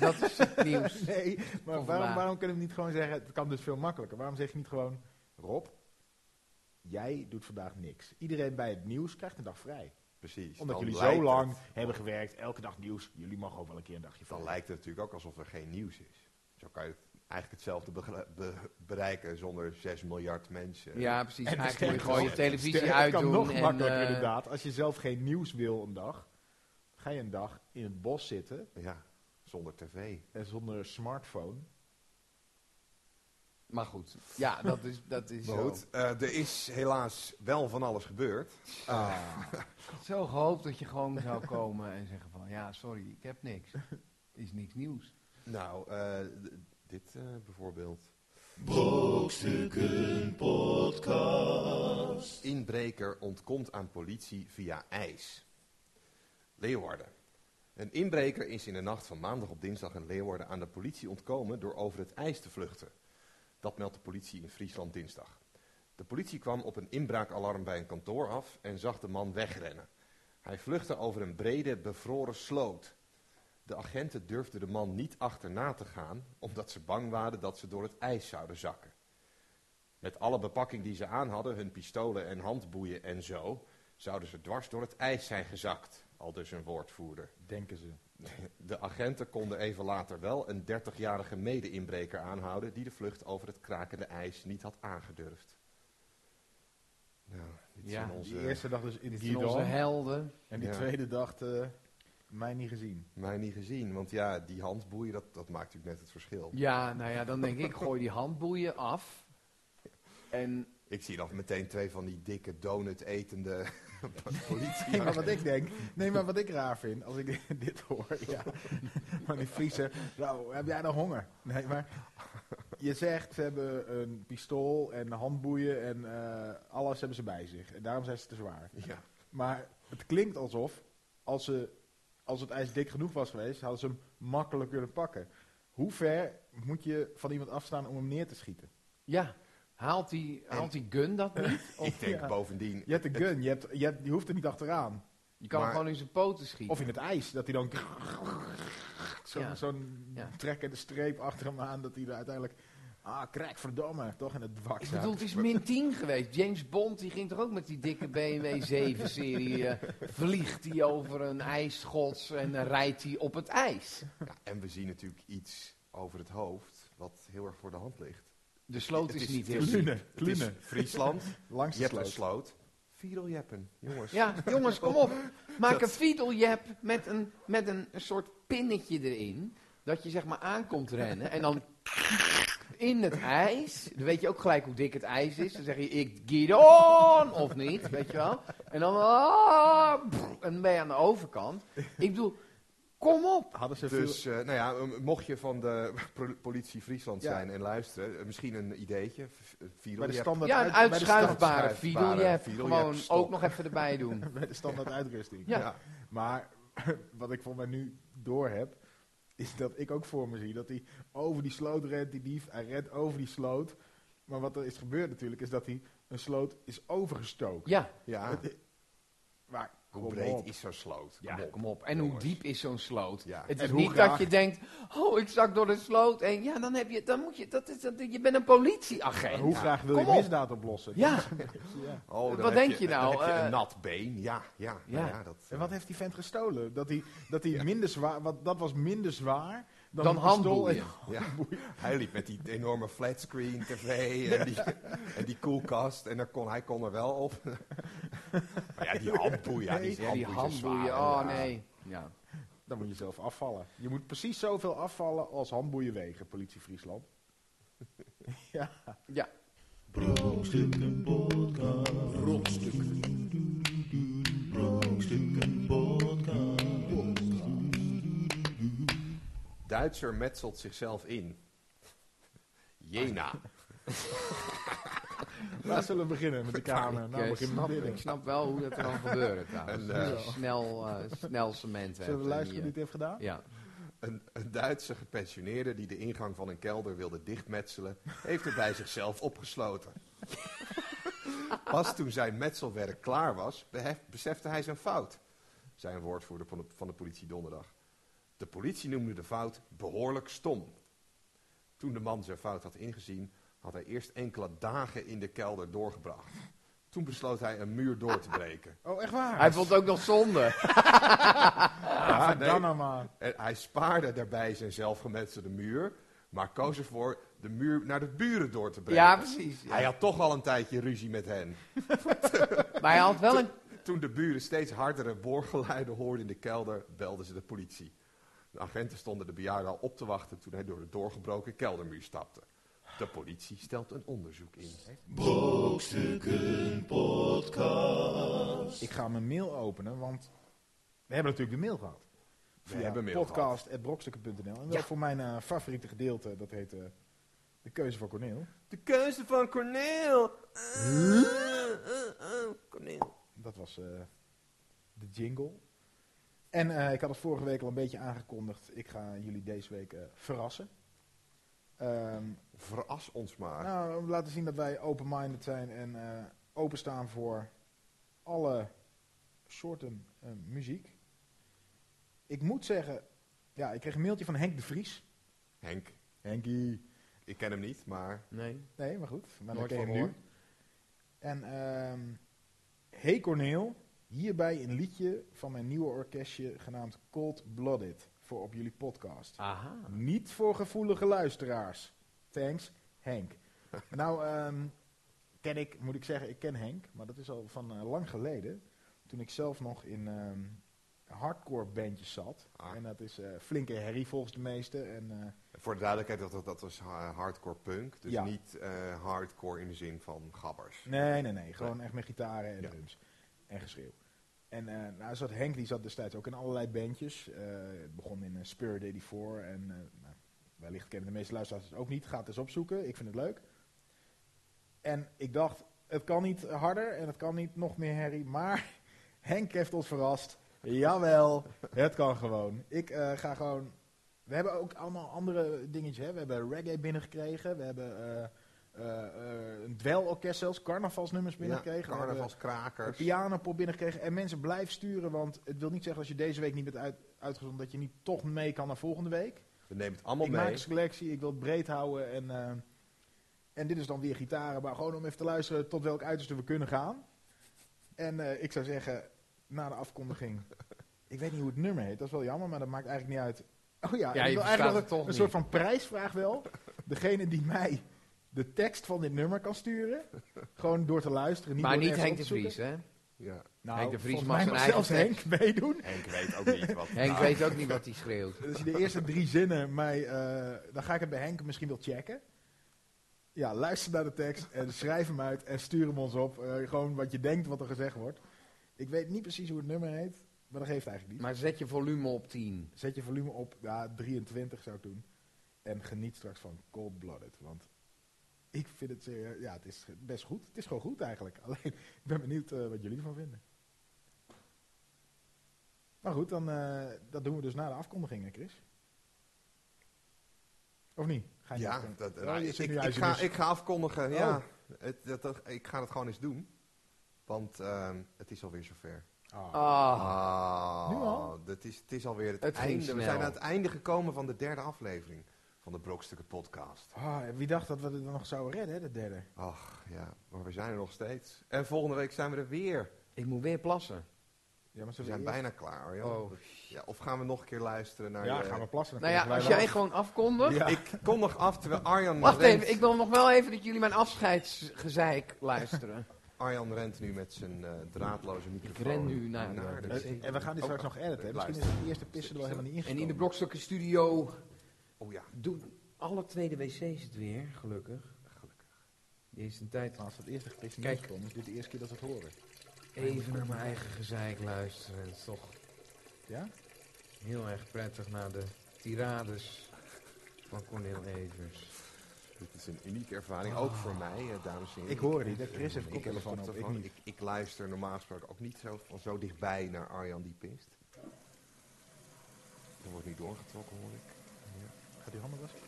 [SPEAKER 5] Dat is het
[SPEAKER 3] *laughs*
[SPEAKER 5] nieuws.
[SPEAKER 3] Nee, maar waarom,
[SPEAKER 5] vandaag.
[SPEAKER 3] waarom kunnen we niet gewoon zeggen... Het kan dus veel makkelijker. Waarom zeg je niet gewoon... Rob, jij doet vandaag niks. Iedereen bij het nieuws krijgt een dag vrij.
[SPEAKER 2] Precies.
[SPEAKER 3] Omdat
[SPEAKER 2] Dan
[SPEAKER 3] jullie
[SPEAKER 2] lijkt
[SPEAKER 3] zo lang
[SPEAKER 2] het-
[SPEAKER 3] hebben gewerkt. Elke dag nieuws. Jullie mogen ook wel een keer een dagje vrij.
[SPEAKER 2] Dan lijkt het natuurlijk ook alsof er geen nieuws is. Zo kan je het eigenlijk hetzelfde begra- be- bereiken zonder 6 miljard mensen.
[SPEAKER 5] Ja, precies.
[SPEAKER 3] En
[SPEAKER 5] Eigenlijk moet je
[SPEAKER 3] sterker
[SPEAKER 5] gewoon je
[SPEAKER 3] nog,
[SPEAKER 5] televisie
[SPEAKER 3] Het kan
[SPEAKER 5] uitdoen.
[SPEAKER 3] nog
[SPEAKER 5] En,
[SPEAKER 3] makkelijker
[SPEAKER 5] eh,
[SPEAKER 3] inderdaad. Als je zelf geen nieuws wil een dag... Ga je een dag in het bos zitten
[SPEAKER 2] Ja, zonder tv.
[SPEAKER 3] en zonder smartphone.
[SPEAKER 5] maar goed, ja, dat is, dat
[SPEAKER 2] *laughs*
[SPEAKER 5] is
[SPEAKER 2] Maar
[SPEAKER 5] zo.
[SPEAKER 2] goed, eh, er is helaas wel van alles gebeurd.
[SPEAKER 5] Zo gehoopt dat je gewoon zou komen en zeggen van... Ja, sorry, ik heb niks. Is niks nieuws.
[SPEAKER 2] Nou, eh, d- dit eh, bijvoorbeeld.
[SPEAKER 1] Brokstukken Podcast.
[SPEAKER 2] Inbreker ontkomt aan politie via ijs. Leeuwarden. Een inbreker is in de nacht van maandag op dinsdag in Leeuwarden aan de politie ontkomen door over het ijs te vluchten. Dat meldt de politie in Friesland dinsdag. De politie kwam op een inbraakalarm bij een kantoor af en zag de man wegrennen. Hij vluchtte over een brede, bevroren sloot. De agenten durfden de man niet achterna te gaan, omdat ze bang waren dat ze door het ijs zouden zakken. Met alle bepakking die ze aan hadden, hun pistolen en handboeien en zo, zouden ze dwars door het ijs zijn gezakt, aldus een woordvoerder.
[SPEAKER 3] Denken ze.
[SPEAKER 2] De agenten konden even later wel een 30-jarige mede-inbreker aanhouden die de vlucht over het krakende ijs niet had aangedurfd. Nou, dit
[SPEAKER 5] Ja,
[SPEAKER 2] zijn
[SPEAKER 3] Die
[SPEAKER 2] onze...
[SPEAKER 3] eerste dag dus in
[SPEAKER 5] Dit zijn onze
[SPEAKER 3] Gidon.
[SPEAKER 5] helden.
[SPEAKER 3] En die
[SPEAKER 2] Ja.
[SPEAKER 3] tweede dag eh, mij niet gezien.
[SPEAKER 2] Mij niet gezien, want ja, die handboeien, dat, dat maakt natuurlijk net het verschil.
[SPEAKER 5] Ja, nou ja, dan denk ik, gooi die handboeien af. En
[SPEAKER 2] Ik zie dan meteen twee van die dikke donut-etende politie.
[SPEAKER 3] Nee, maar wat ik denk, nee, maar wat ik raar vind, als ik *laughs* dit hoor, ja, *laughs* maar die Friese, nou, heb jij nou honger? Nee, maar je zegt, ze hebben een pistool en handboeien en eh, alles hebben ze bij zich. En daarom zijn ze te zwaar.
[SPEAKER 2] Ja,
[SPEAKER 3] Maar het klinkt alsof, als, ze, als het ijs dik genoeg was geweest, hadden ze hem makkelijk kunnen pakken. Hoe ver moet je van iemand afstaan om hem neer te schieten?
[SPEAKER 5] ja, haalt die, haalt die gun dat niet?
[SPEAKER 2] ik denk
[SPEAKER 3] ja.
[SPEAKER 2] bovendien,
[SPEAKER 3] Je hebt een gun, je, hebt, je, hebt- je hoeft er niet achteraan.
[SPEAKER 5] Je kan hem
[SPEAKER 2] Maar-
[SPEAKER 5] gewoon in zijn poten schieten.
[SPEAKER 3] Of in het ijs, dat hij dan zo'n
[SPEAKER 5] Ja.
[SPEAKER 3] zo'n
[SPEAKER 5] Ja.
[SPEAKER 3] trekkende streep achter hem aan, dat hij er uiteindelijk, ah, krijg verdomme, toch in het dwak
[SPEAKER 5] Ik
[SPEAKER 3] zat.
[SPEAKER 5] bedoel, het is min 10 geweest. James Bond die ging toch ook met die dikke BMW 7-serie. eh, vliegt hij over een ijsschots en eh, rijdt hij op het ijs.
[SPEAKER 2] ja, en we zien natuurlijk iets over het hoofd wat heel erg voor de hand ligt.
[SPEAKER 5] De sloot
[SPEAKER 2] Het
[SPEAKER 5] is,
[SPEAKER 2] is- het
[SPEAKER 5] niet heel
[SPEAKER 2] is-
[SPEAKER 5] diep.
[SPEAKER 3] Klune,
[SPEAKER 2] Het is
[SPEAKER 3] klune,
[SPEAKER 2] Friesland,
[SPEAKER 3] langs de
[SPEAKER 2] Jeppen
[SPEAKER 3] sloot.
[SPEAKER 2] Sloot, Fiedeljeppen, jongens.
[SPEAKER 5] Ja, jongens, kom op. Maak
[SPEAKER 2] Dat-
[SPEAKER 5] een fiedeljep met een, met een soort pinnetje erin. Dat je zeg maar aankomt rennen en dan in het ijs. Dan weet je ook gelijk hoe dik het ijs is. Dan zeg je, ik get on of niet, weet je wel. En dan, ah, brrr, en dan ben je aan de overkant. Ik bedoel, kom op.
[SPEAKER 3] Hadden ze veel-
[SPEAKER 2] Dus, eh, nou ja, eh, mocht je van de *laughs* pro- politie Friesland
[SPEAKER 3] Ja.
[SPEAKER 2] zijn en luisteren, eh, misschien een ideetje, v- eh,
[SPEAKER 3] bij de
[SPEAKER 2] Fiedeljep.
[SPEAKER 3] standaard,
[SPEAKER 5] Ja,
[SPEAKER 3] uit-
[SPEAKER 5] een
[SPEAKER 3] bij de
[SPEAKER 5] uitschuifbare
[SPEAKER 2] standaard-
[SPEAKER 5] fiedeljep.
[SPEAKER 2] fiedeljep,
[SPEAKER 5] Gewoon
[SPEAKER 2] stop.
[SPEAKER 5] ook nog even erbij doen.
[SPEAKER 3] stand- *laughs* bij de standaard uitrusting.
[SPEAKER 5] Ja.
[SPEAKER 3] Maar *laughs* wat ik voor mij nu door heb, is dat ik ook voor me zie dat hij over die sloot rent, die dief. Hij rent over die sloot. Maar wat er is gebeurd natuurlijk, is dat hij een een sloot is overgestoken.
[SPEAKER 5] Ja,
[SPEAKER 2] Ja,
[SPEAKER 3] Maar
[SPEAKER 2] hoe
[SPEAKER 3] kom
[SPEAKER 2] breed
[SPEAKER 3] op.
[SPEAKER 2] is zo'n sloot?
[SPEAKER 4] Ja,
[SPEAKER 2] Kom op.
[SPEAKER 5] kom op. En hoe
[SPEAKER 2] jongens.
[SPEAKER 5] diep is zo'n sloot?
[SPEAKER 2] Ja.
[SPEAKER 5] Het
[SPEAKER 3] En
[SPEAKER 5] is
[SPEAKER 3] hoe
[SPEAKER 5] niet
[SPEAKER 3] graag-
[SPEAKER 5] dat je denkt, oh, ik zak door de sloot. En ja, dan heb je, dan moet je, dat is, dat, je bent een politieagent.
[SPEAKER 3] Hoe graag wil je
[SPEAKER 5] Kom op.
[SPEAKER 3] misdaad oplossen? *laughs*
[SPEAKER 5] Ja,
[SPEAKER 3] Ja.
[SPEAKER 2] Oh, dan
[SPEAKER 5] Wat
[SPEAKER 2] heb
[SPEAKER 5] denk je
[SPEAKER 2] dan
[SPEAKER 5] nou,
[SPEAKER 2] heb je
[SPEAKER 5] eh,
[SPEAKER 2] een nat been. Ja, ja,
[SPEAKER 5] Ja.
[SPEAKER 2] nou ja, dat,
[SPEAKER 3] En wat heeft die vent gestolen? Dat hij, dat hij minder zwaar, wat, dat was minder zwaar dan,
[SPEAKER 5] dan
[SPEAKER 3] een pistool
[SPEAKER 5] handboeien.
[SPEAKER 3] en-
[SPEAKER 2] *laughs* ja. Hij liep met die enorme flatscreen tv en die, en die koelkast. En daar kon, hij kon er wel
[SPEAKER 5] *laughs*
[SPEAKER 2] op. maar ja, die handboeien. Ja, die,
[SPEAKER 5] Ja, die
[SPEAKER 2] handboeien zijn
[SPEAKER 5] handboeien,
[SPEAKER 2] zwaar,
[SPEAKER 5] oh
[SPEAKER 2] ja.
[SPEAKER 5] nee. Ja.
[SPEAKER 3] Dan moet je zelf afvallen. Je moet precies zoveel afvallen als handboeien wegen, politie Friesland. ja.
[SPEAKER 5] ja.
[SPEAKER 1] Brokstukken podcast. Brokstukken. Brokstukken podcast.
[SPEAKER 2] Duitser metselt zichzelf in. Jena.
[SPEAKER 3] Waar zullen we beginnen met de kamer?
[SPEAKER 5] ik,
[SPEAKER 3] Nou,
[SPEAKER 5] eh,
[SPEAKER 3] begin met
[SPEAKER 5] snap, ik
[SPEAKER 3] binnen.
[SPEAKER 5] snap wel hoe dat
[SPEAKER 3] *laughs*
[SPEAKER 5] kan gebeuren trouwens.
[SPEAKER 2] En, eh,
[SPEAKER 5] Als je snel, eh, snel cement hebt.
[SPEAKER 3] Zullen we
[SPEAKER 5] en
[SPEAKER 3] luisteren
[SPEAKER 5] je-
[SPEAKER 3] wie het heeft gedaan?
[SPEAKER 5] Ja.
[SPEAKER 2] Een, een Duitse gepensioneerde die de ingang van een kelder wilde dichtmetselen, heeft het bij zichzelf opgesloten. Pas toen zijn metselwerk klaar was, behef- besefte hij zijn fout, zei een woordvoerder van de, van de politie donderdag. De politie noemde de fout behoorlijk stom. Toen de man zijn fout had ingezien, had hij eerst enkele dagen in de kelder doorgebracht. Toen besloot hij een muur door te breken.
[SPEAKER 3] Oh, echt waar?
[SPEAKER 5] Hij vond het ook nog
[SPEAKER 3] *laughs*
[SPEAKER 5] zonde.
[SPEAKER 3] ja,
[SPEAKER 2] nee.
[SPEAKER 3] dan nou maar.
[SPEAKER 2] En hij spaarde daarbij zijn zelfgemetselde muur, maar koos ervoor de muur naar de buren door te brengen.
[SPEAKER 5] Ja, precies. ja.
[SPEAKER 2] Hij had toch al een tijdje ruzie met hen.
[SPEAKER 5] Maar hij had wel een...
[SPEAKER 2] Toen de buren steeds hardere boorgeluiden hoorden in de kelder, belden ze de politie. De agenten stonden de bejaarde al op te wachten toen hij door de doorgebroken keldermuur stapte. De politie stelt een onderzoek in.
[SPEAKER 1] Brokstukken podcast.
[SPEAKER 3] Ik ga mijn mail openen, want we hebben natuurlijk de mail gehad. Via
[SPEAKER 2] hebben mail
[SPEAKER 3] podcast.brokstukken.nl. En dat is voor mijn eh, favoriete gedeelte, dat heet eh, De Keuze van Corneel.
[SPEAKER 2] De keuze van Corneel. Eh, Corneel.
[SPEAKER 3] Dat was eh, de jingle. En eh, ik had het vorige week al een beetje aangekondigd. Ik ga jullie deze week eh, verrassen. Ehm,
[SPEAKER 2] Verras ons
[SPEAKER 5] Ah.
[SPEAKER 2] maar.
[SPEAKER 3] nou, om te laten zien dat wij open-minded zijn en eh, openstaan voor alle soorten eh, muziek. Ik moet zeggen, ja, ik kreeg een mailtje van Henk de Vries.
[SPEAKER 2] Henk,
[SPEAKER 3] Henkie.
[SPEAKER 2] ik ken hem niet, maar
[SPEAKER 5] Nee.
[SPEAKER 3] Nee, maar goed. Maar dan
[SPEAKER 5] Nooit
[SPEAKER 3] ken je
[SPEAKER 5] van
[SPEAKER 3] hem nu. En ehm Hey Corneel, hierbij een liedje van mijn nieuwe orkestje genaamd Cold Blooded voor op jullie podcast.
[SPEAKER 5] Aha.
[SPEAKER 3] Niet voor gevoelige luisteraars. Thanks, Henk. nou, ehm, ken ik, moet ik zeggen, ik ken Henk, maar dat is al van eh, lang geleden. Toen ik zelf nog in ehm, hardcore bandjes zat.
[SPEAKER 2] Ah.
[SPEAKER 3] En dat is eh, flinke herrie volgens de meesten. En eh,
[SPEAKER 2] voor de duidelijkheid, dat, dat was ha- hardcore punk. Dus
[SPEAKER 3] Ja.
[SPEAKER 2] niet eh, hardcore in de zin van gabbers.
[SPEAKER 3] Nee, nee, nee. Gewoon echt met gitaren en
[SPEAKER 2] Ja.
[SPEAKER 3] drums. En geschreeuw. En eh nou zat Henk, die zat destijds ook in allerlei bandjes. Eh, het begon in eh, Spirit 84. En eh, nou, wellicht kennen de meeste luisteraars het ook niet. Ga het eens opzoeken. Ik vind het leuk. En ik dacht, het kan niet harder en het kan niet nog meer herrie. Maar *laughs* Henk heeft ons verrast. Jawel, het kan gewoon. Ik eh, ga gewoon... We hebben ook allemaal andere dingetjes. Hè? We hebben reggae binnengekregen. We hebben eh, eh, eh, een dwelorkest zelfs. Carnavalsnummers binnengekregen. We hebben-
[SPEAKER 2] Carnavalskrakers.
[SPEAKER 3] de pianopop binnengekregen. En mensen blijven sturen, want het wil niet zeggen als je deze week niet bent uit, uitgezonden, dat je niet toch mee kan naar volgende week.
[SPEAKER 2] We nemen het allemaal
[SPEAKER 3] ik maak
[SPEAKER 2] mee.
[SPEAKER 3] een selectie, ik wil het breed houden. En, eh, en dit is dan weer gitaren, maar gewoon om even te luisteren tot welk uiterste we kunnen gaan. En eh, ik zou zeggen, na de
[SPEAKER 5] *laughs*
[SPEAKER 3] afkondiging, ik weet niet hoe het nummer heet, dat is wel jammer, maar dat maakt eigenlijk niet uit. Oh ja,
[SPEAKER 5] je
[SPEAKER 3] ik wil
[SPEAKER 5] verstaat
[SPEAKER 3] eigenlijk wel
[SPEAKER 5] het toch
[SPEAKER 3] een
[SPEAKER 5] niet.
[SPEAKER 3] soort van prijsvraag
[SPEAKER 5] *laughs*
[SPEAKER 3] wel. Degene die mij de tekst van dit nummer kan sturen, gewoon door te luisteren. *laughs* Niet
[SPEAKER 5] Maar
[SPEAKER 3] door
[SPEAKER 5] niet
[SPEAKER 3] ergens
[SPEAKER 5] Henk
[SPEAKER 3] op
[SPEAKER 5] de
[SPEAKER 3] te zoeken.
[SPEAKER 5] Vries, hè?
[SPEAKER 2] Ja.
[SPEAKER 3] Nou,
[SPEAKER 5] Henk de Vries
[SPEAKER 3] volgens
[SPEAKER 5] mag
[SPEAKER 3] mij
[SPEAKER 5] zijn
[SPEAKER 3] mag
[SPEAKER 5] eigen
[SPEAKER 3] zelfs
[SPEAKER 5] tekst.
[SPEAKER 3] Henk meedoen.
[SPEAKER 2] Henk weet ook niet
[SPEAKER 3] *laughs*
[SPEAKER 2] wat.
[SPEAKER 5] Henk
[SPEAKER 2] nou,
[SPEAKER 5] weet ook niet wat hij schreeuwt.
[SPEAKER 3] Dus de eerste drie zinnen, mij, eh, dan ga ik het bij Henk misschien wel checken. Ja, luister naar de tekst en schrijf hem uit en stuur hem ons op. Eh, gewoon wat je denkt wat er gezegd wordt. Ik weet niet precies hoe het nummer heet, maar dat geeft eigenlijk niet.
[SPEAKER 5] Maar zet je volume op 10.
[SPEAKER 3] Zet je volume op, ja, 23 zou ik doen. En geniet straks van Cold Blooded, want ik vind het serieus, ja, het is best goed. Het is gewoon goed eigenlijk. *laughs* Alleen, ik ben benieuwd eh, wat jullie ervan vinden. Maar goed, dan, eh, dat doen we dus na de afkondigingen, Chris. Of niet? Ga je
[SPEAKER 2] Ja,
[SPEAKER 3] niet-
[SPEAKER 2] dat,
[SPEAKER 3] Oh,
[SPEAKER 2] nou,
[SPEAKER 3] je
[SPEAKER 2] ik,
[SPEAKER 3] zit nu uit
[SPEAKER 2] ik,
[SPEAKER 3] je
[SPEAKER 2] ga,
[SPEAKER 3] dus-
[SPEAKER 2] ik ga afkondigen.
[SPEAKER 3] Oh.
[SPEAKER 2] Ja, het, dat, dat- ik ga het gewoon eens doen. Want ehm, het is alweer zover.
[SPEAKER 3] Ah.
[SPEAKER 5] Ah,
[SPEAKER 2] Ah,
[SPEAKER 3] Nu al?
[SPEAKER 2] Dat is, het is alweer het,
[SPEAKER 5] Het ging
[SPEAKER 2] einde. We
[SPEAKER 5] snel.
[SPEAKER 2] zijn aan het einde gekomen van de derde aflevering van de Brokstukken Podcast.
[SPEAKER 3] Ah, wie dacht dat we het nog zouden redden, hè, de derde?
[SPEAKER 2] Ach ja, maar we zijn er nog steeds. En volgende week zijn we er weer.
[SPEAKER 5] ik moet weer plassen.
[SPEAKER 3] Ja, maar ze
[SPEAKER 2] We zijn bijna klaar, Arjan.
[SPEAKER 5] Oh.
[SPEAKER 2] Ja, of gaan we nog een keer luisteren naar.
[SPEAKER 3] Ja,
[SPEAKER 2] je-
[SPEAKER 3] gaan we plassen. dan
[SPEAKER 5] Nou ja,
[SPEAKER 3] krijgen
[SPEAKER 5] als
[SPEAKER 3] wij
[SPEAKER 5] jij
[SPEAKER 3] wel-
[SPEAKER 5] gewoon afkondigt.
[SPEAKER 3] Ja.
[SPEAKER 2] Ik kondig af terwijl Arjan.
[SPEAKER 5] Wacht
[SPEAKER 2] rent.
[SPEAKER 5] even, ik wil nog wel even dat jullie mijn afscheidsgezeik luisteren.
[SPEAKER 2] Arjan rent nu met zijn eh, draadloze microfoon.
[SPEAKER 5] ren nu naar de-
[SPEAKER 2] de-
[SPEAKER 3] Eh, En we gaan dit straks
[SPEAKER 2] Oh,
[SPEAKER 3] nog editen. hè.
[SPEAKER 2] eh,
[SPEAKER 3] Misschien is de eerste pissen er wel helemaal niet
[SPEAKER 5] en *laughs* in de
[SPEAKER 3] ingekomen.
[SPEAKER 5] Brokstukken Studio
[SPEAKER 2] Oh ja,
[SPEAKER 5] doen alle tweede wc's het weer, gelukkig.
[SPEAKER 2] gelukkig.
[SPEAKER 5] Die is een tijd
[SPEAKER 3] Als het eerste gepissen
[SPEAKER 5] Kijk.
[SPEAKER 3] niet ingekomen is, dit de eerste keer dat we het horen.
[SPEAKER 5] even naar mijn eigen gezeik luisteren. Het is toch
[SPEAKER 3] Ja?
[SPEAKER 5] heel erg prettig naar de tirades van Cornel Evers.
[SPEAKER 2] Dit is een unieke ervaring, ook voor mij, eh, dames en heren.
[SPEAKER 3] Ik hoor het niet, hè. Chris heeft
[SPEAKER 2] Ik heb een
[SPEAKER 3] koptelefoon op, ik niet.
[SPEAKER 2] Ik, ik luister normaal gesproken ook niet zo, van zo dichtbij naar Arjan die pist. Er wordt niet doorgetrokken, hoor ik. Ja.
[SPEAKER 3] Gaat die handen wassen?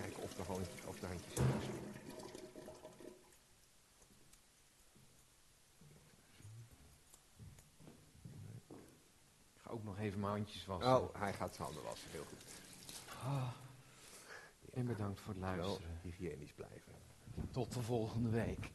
[SPEAKER 2] Kijken of de, handjes, of de handjes thuis horen.
[SPEAKER 5] Ik ga ook nog even mijn handjes wassen.
[SPEAKER 2] Oh, hij gaat zijn handen wassen, heel goed.
[SPEAKER 5] En bedankt voor het
[SPEAKER 2] Wel
[SPEAKER 5] luisteren.
[SPEAKER 2] hygiënisch blijven.
[SPEAKER 5] Nou, Tot de volgende week.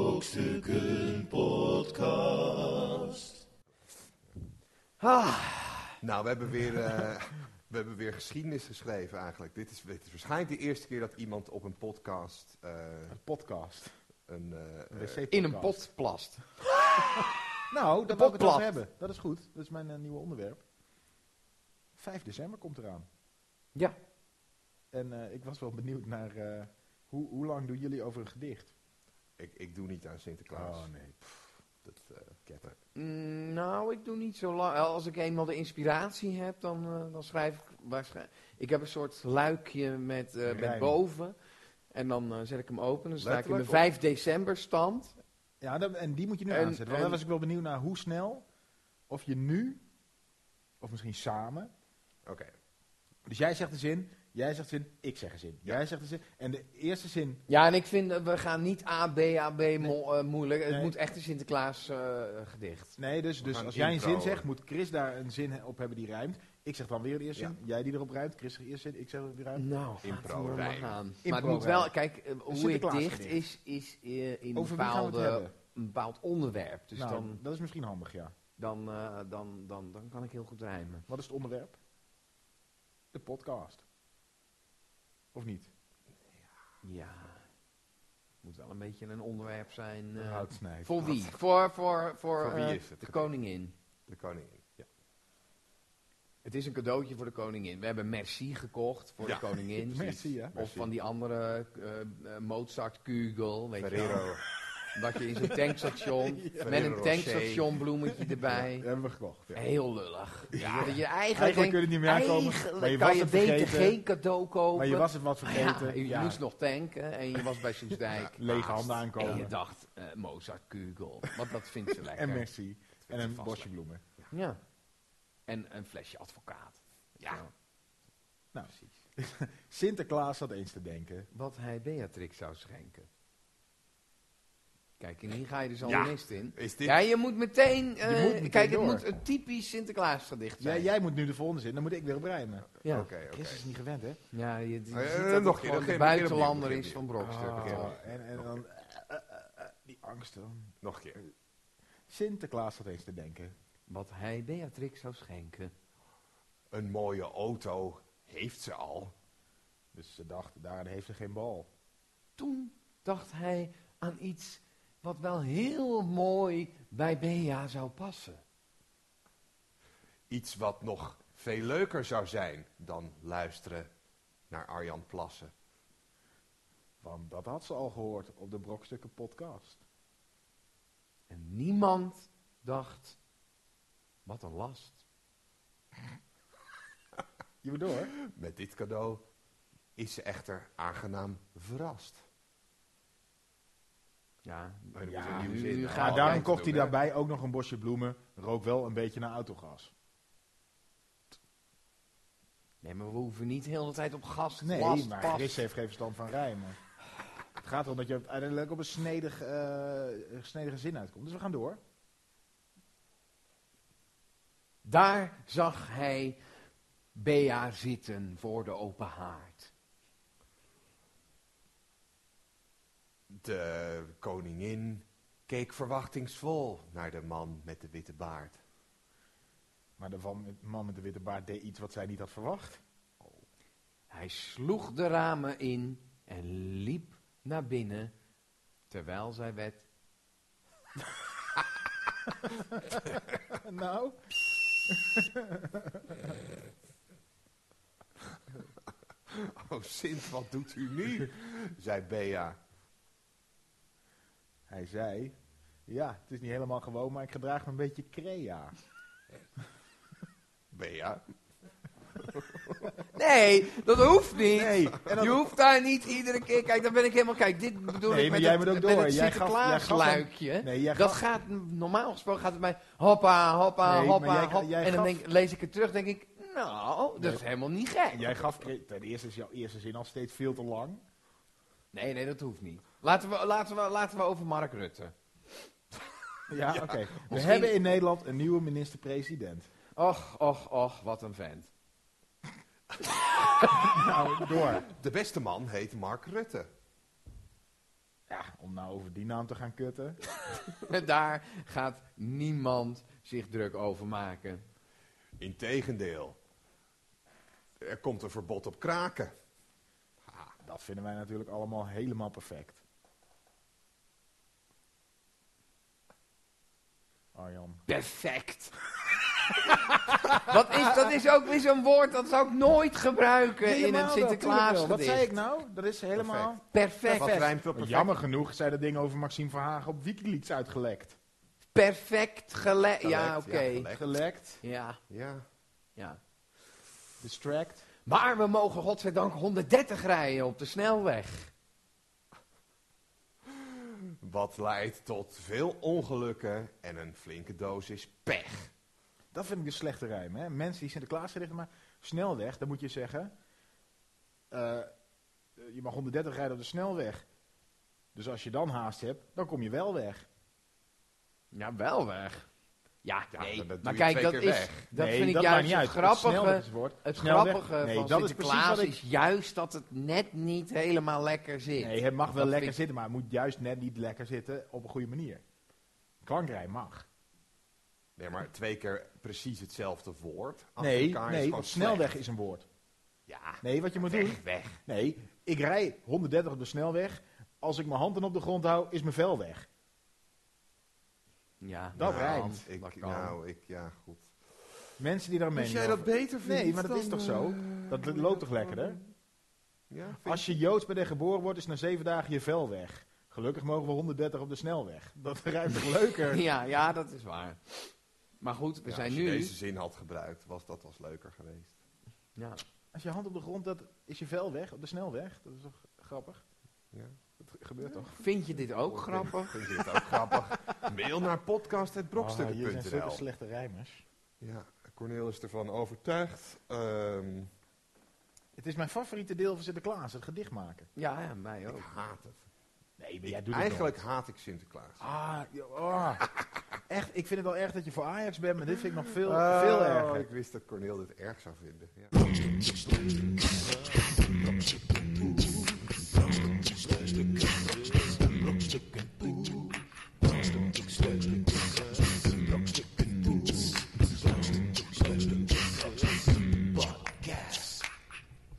[SPEAKER 1] Brokstukken podcast.
[SPEAKER 2] Nou, we hebben weer, eh, *laughs* we hebben weer geschiedenis geschreven eigenlijk. Dit is, dit is waarschijnlijk de eerste keer dat iemand op een podcast eh,
[SPEAKER 3] Een podcast.
[SPEAKER 2] een... eh,
[SPEAKER 3] Een
[SPEAKER 2] eh,
[SPEAKER 3] wc-podcast.
[SPEAKER 5] In een pot plast.
[SPEAKER 3] Nou,
[SPEAKER 5] Een
[SPEAKER 3] daar wil ik het over
[SPEAKER 5] potplast.
[SPEAKER 3] hebben. Dat is goed. Dat is mijn eh, nieuwe onderwerp. 5 december komt eraan.
[SPEAKER 5] Ja.
[SPEAKER 3] En eh, ik was wel benieuwd naar eh, hoe, hoe lang doen jullie over een gedicht?
[SPEAKER 2] ik, ik doe niet aan Sinterklaas.
[SPEAKER 3] Oh, nee.
[SPEAKER 2] Dat, eh,
[SPEAKER 5] Mm, Nou, ik doe niet zo lang. Als ik eenmaal de inspiratie heb, dan, eh, dan schrijf ik waarschijnlijk. Ik heb een soort luikje met, eh, met
[SPEAKER 3] Rijm.
[SPEAKER 5] boven. En dan eh, zet ik hem open. Dan sta ik in mijn
[SPEAKER 2] Letterlijk
[SPEAKER 5] 5 december stand.
[SPEAKER 3] Ja, dat- en die moet je nu
[SPEAKER 5] En-
[SPEAKER 3] aanzetten. Want
[SPEAKER 5] en-
[SPEAKER 3] daar was ik wel benieuwd naar hoe snel, of je nu, of misschien samen.
[SPEAKER 2] Oké.
[SPEAKER 3] Dus jij zegt een zin, jij zegt een zin, ik zeg een zin.
[SPEAKER 2] Ja.
[SPEAKER 3] Jij zegt een zin. En de eerste zin,
[SPEAKER 5] Ja, en ik vind, eh, we gaan niet A, B, A, B mo- eh, moeilijk. Het
[SPEAKER 3] Nee.
[SPEAKER 5] moet echt een Sinterklaas eh, gedicht.
[SPEAKER 3] nee, dus, dus
[SPEAKER 2] gaan
[SPEAKER 3] als jij een zin
[SPEAKER 2] inbrouwen.
[SPEAKER 3] zegt, moet Chris daar een zin op hebben die rijmt. Ik zeg dan weer de eerste
[SPEAKER 2] Ja.
[SPEAKER 3] zin, jij die erop rijmt, Chris zegt de eerste zin, ik zeg die rijmt.
[SPEAKER 5] Nou,
[SPEAKER 2] Impro
[SPEAKER 5] laten we maar
[SPEAKER 2] rijm.
[SPEAKER 5] gaan. Maar het
[SPEAKER 3] Impro
[SPEAKER 5] moet wel,
[SPEAKER 3] rijm.
[SPEAKER 5] kijk, eh, hoe ik
[SPEAKER 3] Sinterklaas
[SPEAKER 5] dicht
[SPEAKER 3] gedicht.
[SPEAKER 5] is, is eh, in een
[SPEAKER 3] Over wie gaan we het
[SPEAKER 5] bepaalde-
[SPEAKER 3] hebben?
[SPEAKER 5] een bepaald onderwerp. Dus
[SPEAKER 3] nou,
[SPEAKER 5] dan,
[SPEAKER 3] dat is misschien handig, ja.
[SPEAKER 5] dan, eh, dan, dan, dan kan ik heel goed rijmen.
[SPEAKER 3] Wat is het onderwerp? De podcast. Of niet?
[SPEAKER 5] Ja. Moet wel een beetje een onderwerp zijn. eh,
[SPEAKER 3] Houtsnijden.
[SPEAKER 5] voor wie? Voor, voor, voor,
[SPEAKER 2] Voor wie
[SPEAKER 5] eh,
[SPEAKER 2] is het
[SPEAKER 5] de
[SPEAKER 2] gedicht?
[SPEAKER 5] koningin.
[SPEAKER 2] De koningin. Ja.
[SPEAKER 5] Het is een cadeautje voor de koningin. We hebben Merci gekocht voor
[SPEAKER 2] Ja.
[SPEAKER 5] de koningin.
[SPEAKER 3] *laughs* Merci, hè?
[SPEAKER 5] Of van die andere eh eh, Mozart Kugel. Weet je wel.
[SPEAKER 2] Ferrero.
[SPEAKER 5] Dat je in
[SPEAKER 3] *laughs*
[SPEAKER 5] zo'n tankstation, met
[SPEAKER 2] Ferrero
[SPEAKER 5] een
[SPEAKER 2] Rocher.
[SPEAKER 5] tankstation bloemetje
[SPEAKER 3] Die
[SPEAKER 5] erbij.
[SPEAKER 3] hebben we gekocht. Ja.
[SPEAKER 5] Heel lullig. Ja, dat je eigenlijk,
[SPEAKER 3] Eigenlijk
[SPEAKER 5] denkt,
[SPEAKER 3] kun je het niet meer aankomen,
[SPEAKER 5] eigenlijk
[SPEAKER 3] maar je
[SPEAKER 5] kan
[SPEAKER 3] was
[SPEAKER 5] je
[SPEAKER 3] het
[SPEAKER 5] beter
[SPEAKER 3] vergeten.
[SPEAKER 5] geen cadeau kopen.
[SPEAKER 3] Maar je was het wat
[SPEAKER 5] Maar ja,
[SPEAKER 3] vergeten.
[SPEAKER 5] je
[SPEAKER 3] Ja,
[SPEAKER 5] moest nog tanken en je was bij Soesdijk. naast.
[SPEAKER 3] Lege handen
[SPEAKER 5] En je
[SPEAKER 3] aankomen.
[SPEAKER 5] dacht, eh, Mozart Kugel, want dat vindt ze lekker.
[SPEAKER 3] En Messi. En een
[SPEAKER 2] vast
[SPEAKER 3] bosje bloemen.
[SPEAKER 5] Ja. En een flesje advocaat. Ja.
[SPEAKER 3] Nou, Sinterklaas zat eens te denken.
[SPEAKER 5] Wat hij Beatrix zou schenken. Kijk, en hier ga je dus al
[SPEAKER 2] Ja.
[SPEAKER 5] de mist in.
[SPEAKER 2] Is dit...
[SPEAKER 5] Ja, je moet meteen... eh,
[SPEAKER 3] Je moet meteen
[SPEAKER 5] kijk, het
[SPEAKER 3] door.
[SPEAKER 5] moet een typisch Sinterklaas gedicht
[SPEAKER 3] Jij,
[SPEAKER 5] zijn.
[SPEAKER 3] jij moet nu de volgende zin, dan moet ik weer op rijmen.
[SPEAKER 5] ja.
[SPEAKER 2] Oké, oké.
[SPEAKER 3] Chris is niet gewend, hè?
[SPEAKER 5] Ja, je, je ziet
[SPEAKER 2] Eh, eh,
[SPEAKER 5] dat
[SPEAKER 2] nog
[SPEAKER 5] het
[SPEAKER 2] een keer, nog een keer, nog
[SPEAKER 5] gewoon
[SPEAKER 2] een keer
[SPEAKER 5] de
[SPEAKER 2] opnieuw,
[SPEAKER 5] buitenlander
[SPEAKER 2] nog een
[SPEAKER 5] is
[SPEAKER 2] keer
[SPEAKER 5] van Brokstuk.
[SPEAKER 3] Ah,
[SPEAKER 2] keer.
[SPEAKER 3] en, en dan eh, eh, eh, die angst dan.
[SPEAKER 2] Nog een keer.
[SPEAKER 3] Sinterklaas zat eens te denken.
[SPEAKER 5] Wat hij Beatrix zou schenken.
[SPEAKER 2] Een mooie auto heeft ze al.
[SPEAKER 3] Dus ze dacht, daar heeft ze geen bal.
[SPEAKER 5] Toen dacht hij aan iets wat wel heel mooi bij Bea zou passen.
[SPEAKER 2] Iets wat nog veel leuker zou zijn dan luisteren naar Arjan Plassen.
[SPEAKER 3] Want dat had ze al gehoord op de Brokstukken podcast.
[SPEAKER 5] En niemand dacht, wat een last.
[SPEAKER 3] Je moet door.
[SPEAKER 2] Met dit cadeau is ze echter aangenaam verrast.
[SPEAKER 5] Ja,
[SPEAKER 2] Oh, dan
[SPEAKER 3] Nou, Ja,
[SPEAKER 2] moet je een nieuwe
[SPEAKER 5] nu-
[SPEAKER 2] zin.
[SPEAKER 5] nu
[SPEAKER 2] Oh,
[SPEAKER 5] gaat-
[SPEAKER 3] Maar
[SPEAKER 5] Ja,
[SPEAKER 3] daarom
[SPEAKER 2] dat
[SPEAKER 3] kocht
[SPEAKER 2] doen,
[SPEAKER 3] hij
[SPEAKER 2] hè?
[SPEAKER 3] daarbij ook nog een bosje bloemen. Rook wel een beetje naar autogas.
[SPEAKER 5] nee, maar we hoeven niet heel de tijd op gas,
[SPEAKER 3] Nee,
[SPEAKER 5] last,
[SPEAKER 3] maar
[SPEAKER 5] pas.
[SPEAKER 3] Chris heeft geen verstand van rijmen. Het gaat erom dat je uiteindelijk op een snedig, eh, een snedige zin uitkomt. Dus we gaan door.
[SPEAKER 5] Daar zag hij Bea zitten voor de open haard.
[SPEAKER 2] De koningin keek verwachtingsvol naar de man met de witte baard. *laughs*
[SPEAKER 3] Maar de van- de man met de witte baard deed iets wat zij niet had verwacht. *laughs*
[SPEAKER 5] Hij sloeg de ramen in en liep naar binnen, terwijl zij werd...
[SPEAKER 3] nou,
[SPEAKER 2] Oh, Sint, wat doet u nu? zei Bea.
[SPEAKER 3] hij zei... Ja, het is niet helemaal gewoon, maar ik gedraag me een beetje crea.
[SPEAKER 2] Bea?
[SPEAKER 5] Nee, dat hoeft niet.
[SPEAKER 3] Nee, en
[SPEAKER 5] Je hoeft daar niet iedere keer... Kijk, dan ben ik helemaal... Kijk, dit bedoel
[SPEAKER 3] Nee,
[SPEAKER 5] ik
[SPEAKER 3] maar
[SPEAKER 5] met
[SPEAKER 3] jij
[SPEAKER 5] het,
[SPEAKER 3] moet ook
[SPEAKER 5] met
[SPEAKER 3] door.
[SPEAKER 5] het
[SPEAKER 3] Jij gaf- jij gaf hem-
[SPEAKER 5] Sinterklaasluikje.
[SPEAKER 3] Nee, jij
[SPEAKER 5] dat
[SPEAKER 3] gaf-
[SPEAKER 5] gaat, normaal gesproken gaat het mij hoppa, hoppa,
[SPEAKER 3] Nee, maar
[SPEAKER 5] hoppa,
[SPEAKER 3] jij-
[SPEAKER 5] hop.
[SPEAKER 3] jij
[SPEAKER 5] en dan
[SPEAKER 3] gaf-
[SPEAKER 5] denk, lees ik het terug, denk ik, nou, dat is helemaal niet gek.
[SPEAKER 3] Jij gaf... cre- Ten eerste is jouw eerste zin al steeds veel te lang.
[SPEAKER 5] Nee, nee, dat hoeft niet. Laten we, laten we, laten we over Mark Rutte.
[SPEAKER 3] Ja, oké. We
[SPEAKER 5] Misschien-
[SPEAKER 3] hebben in Nederland een nieuwe minister-president.
[SPEAKER 5] Och, och, och, wat een vent. *laughs*
[SPEAKER 3] Nou, door.
[SPEAKER 2] De beste man heet Mark Rutte.
[SPEAKER 3] Ja, om nou over die naam te gaan kutten.
[SPEAKER 5] Daar gaat niemand zich druk over maken.
[SPEAKER 2] Integendeel. Er komt een verbod op kraken.
[SPEAKER 3] Dat vinden wij natuurlijk allemaal helemaal perfect. Arjan.
[SPEAKER 5] *laughs* Perfect. dat, is, dat is ook weer zo'n woord, dat zou ik nooit gebruiken in een Sinterklaas
[SPEAKER 3] Wat zei ik nou? Dat is helemaal...
[SPEAKER 2] Perfect. Wat
[SPEAKER 5] Perfect. Perfect,
[SPEAKER 2] rijmt op perfect?
[SPEAKER 3] Jammer genoeg zijn de dingen over Maxime Verhagen op Wikileaks uitgelekt.
[SPEAKER 5] gele...
[SPEAKER 2] Gelekt, ja,
[SPEAKER 5] Ja, oké. Ja,
[SPEAKER 2] gelekt.
[SPEAKER 3] Gelekt,
[SPEAKER 5] ja,
[SPEAKER 2] Ja.
[SPEAKER 3] distract.
[SPEAKER 5] Maar we mogen godzijdank 130 rijden op de snelweg.
[SPEAKER 2] Wat leidt tot veel ongelukken en een flinke dosis pech.
[SPEAKER 3] Dat vind ik een slechte rijm. Hè? Mensen die Sinterklaas richten, maar snelweg, dan moet je zeggen. eh, je mag 130 rijden op de snelweg. Dus als je dan haast hebt, dan kom je wel weg.
[SPEAKER 5] Ja, wel weg. Ja,
[SPEAKER 2] Ja,
[SPEAKER 5] nee.
[SPEAKER 2] maar dat doe
[SPEAKER 5] maar
[SPEAKER 2] je
[SPEAKER 5] kijk,
[SPEAKER 2] twee
[SPEAKER 5] dat
[SPEAKER 2] keer
[SPEAKER 5] is...
[SPEAKER 2] weg.
[SPEAKER 5] Dat
[SPEAKER 3] Nee,
[SPEAKER 5] vind ik
[SPEAKER 3] dat
[SPEAKER 5] juist
[SPEAKER 3] maakt niet
[SPEAKER 5] het
[SPEAKER 3] uit.
[SPEAKER 5] grappige...
[SPEAKER 3] snelweg is woord.
[SPEAKER 5] Het
[SPEAKER 3] Snelweg-
[SPEAKER 5] grappige
[SPEAKER 3] nee,
[SPEAKER 5] van
[SPEAKER 3] dat is precies
[SPEAKER 5] Sinterklaas
[SPEAKER 3] wat
[SPEAKER 5] is,
[SPEAKER 3] ik-
[SPEAKER 5] juist dat het net niet helemaal lekker zit.
[SPEAKER 3] Nee, het mag wel
[SPEAKER 5] Dat
[SPEAKER 3] lekker
[SPEAKER 5] vind
[SPEAKER 3] zitten, maar het moet juist net niet lekker zitten op een goede manier. Klankrijm mag.
[SPEAKER 2] Nee, maar twee keer precies hetzelfde woord. achter
[SPEAKER 3] Nee,
[SPEAKER 2] elkaar is
[SPEAKER 3] nee
[SPEAKER 2] gewoon
[SPEAKER 3] want
[SPEAKER 2] slecht.
[SPEAKER 3] snelweg is een woord.
[SPEAKER 2] Ja,
[SPEAKER 3] Nee, wat je moet doen.
[SPEAKER 2] weg, weg.
[SPEAKER 3] Nee, ik rij 130 op de snelweg. Als ik mijn handen op de grond hou, is mijn vel weg.
[SPEAKER 5] Ja.
[SPEAKER 3] Dat
[SPEAKER 2] Nou,
[SPEAKER 3] rijmt.
[SPEAKER 2] Ik,
[SPEAKER 5] Dat kan.
[SPEAKER 2] nou, ik, ja, goed.
[SPEAKER 3] Mensen die daar mee.
[SPEAKER 2] beter eh,
[SPEAKER 3] Nee, maar dat is toch zo? Dat loopt toch lekkerder?
[SPEAKER 2] Ja, vind
[SPEAKER 3] Als je Joods bent en geboren wordt, is na zeven dagen je vel weg. Gelukkig mogen we 130 op de snelweg. Dat *laughs* rijmt toch leuker?
[SPEAKER 5] Ja, ja, dat is waar. Maar goed, we
[SPEAKER 2] Ja,
[SPEAKER 5] zijn
[SPEAKER 2] als je
[SPEAKER 5] nu... dus
[SPEAKER 2] deze zin had gebruikt, was dat was leuker geweest.
[SPEAKER 5] Ja.
[SPEAKER 3] Als je hand op de grond, dat is je vel weg op de snelweg. Dat is toch
[SPEAKER 2] Oh,
[SPEAKER 3] grappig?
[SPEAKER 2] Ja.
[SPEAKER 3] Dat ge- gebeurt toch?
[SPEAKER 5] Vind je dit ook grappig?
[SPEAKER 2] Oh, *laughs* Vind je het ook grappig? Mail naar
[SPEAKER 3] Ah, hier zijn zulke
[SPEAKER 2] podcast.brokstukken.nl
[SPEAKER 3] slechte rijmers.
[SPEAKER 2] Ja, Corneel is ervan overtuigd. Ehm,
[SPEAKER 3] Het is mijn favoriete deel van Sinterklaas, het gedicht maken.
[SPEAKER 5] Ja, ja, mij
[SPEAKER 2] ik
[SPEAKER 5] ook.
[SPEAKER 2] haat het.
[SPEAKER 3] Nee,
[SPEAKER 2] Ik- eigenlijk haat ik Sinterklaas.
[SPEAKER 3] Ah, ja, ah. echt, ik vind het wel erg dat je voor Ajax bent, maar dit vind ik nog veel,
[SPEAKER 2] Oh,
[SPEAKER 3] veel erger.
[SPEAKER 2] Ik wist dat Corneel dit erg zou vinden. Ja.
[SPEAKER 1] Brokstukken poe. Brokstukken poe. Brokstukken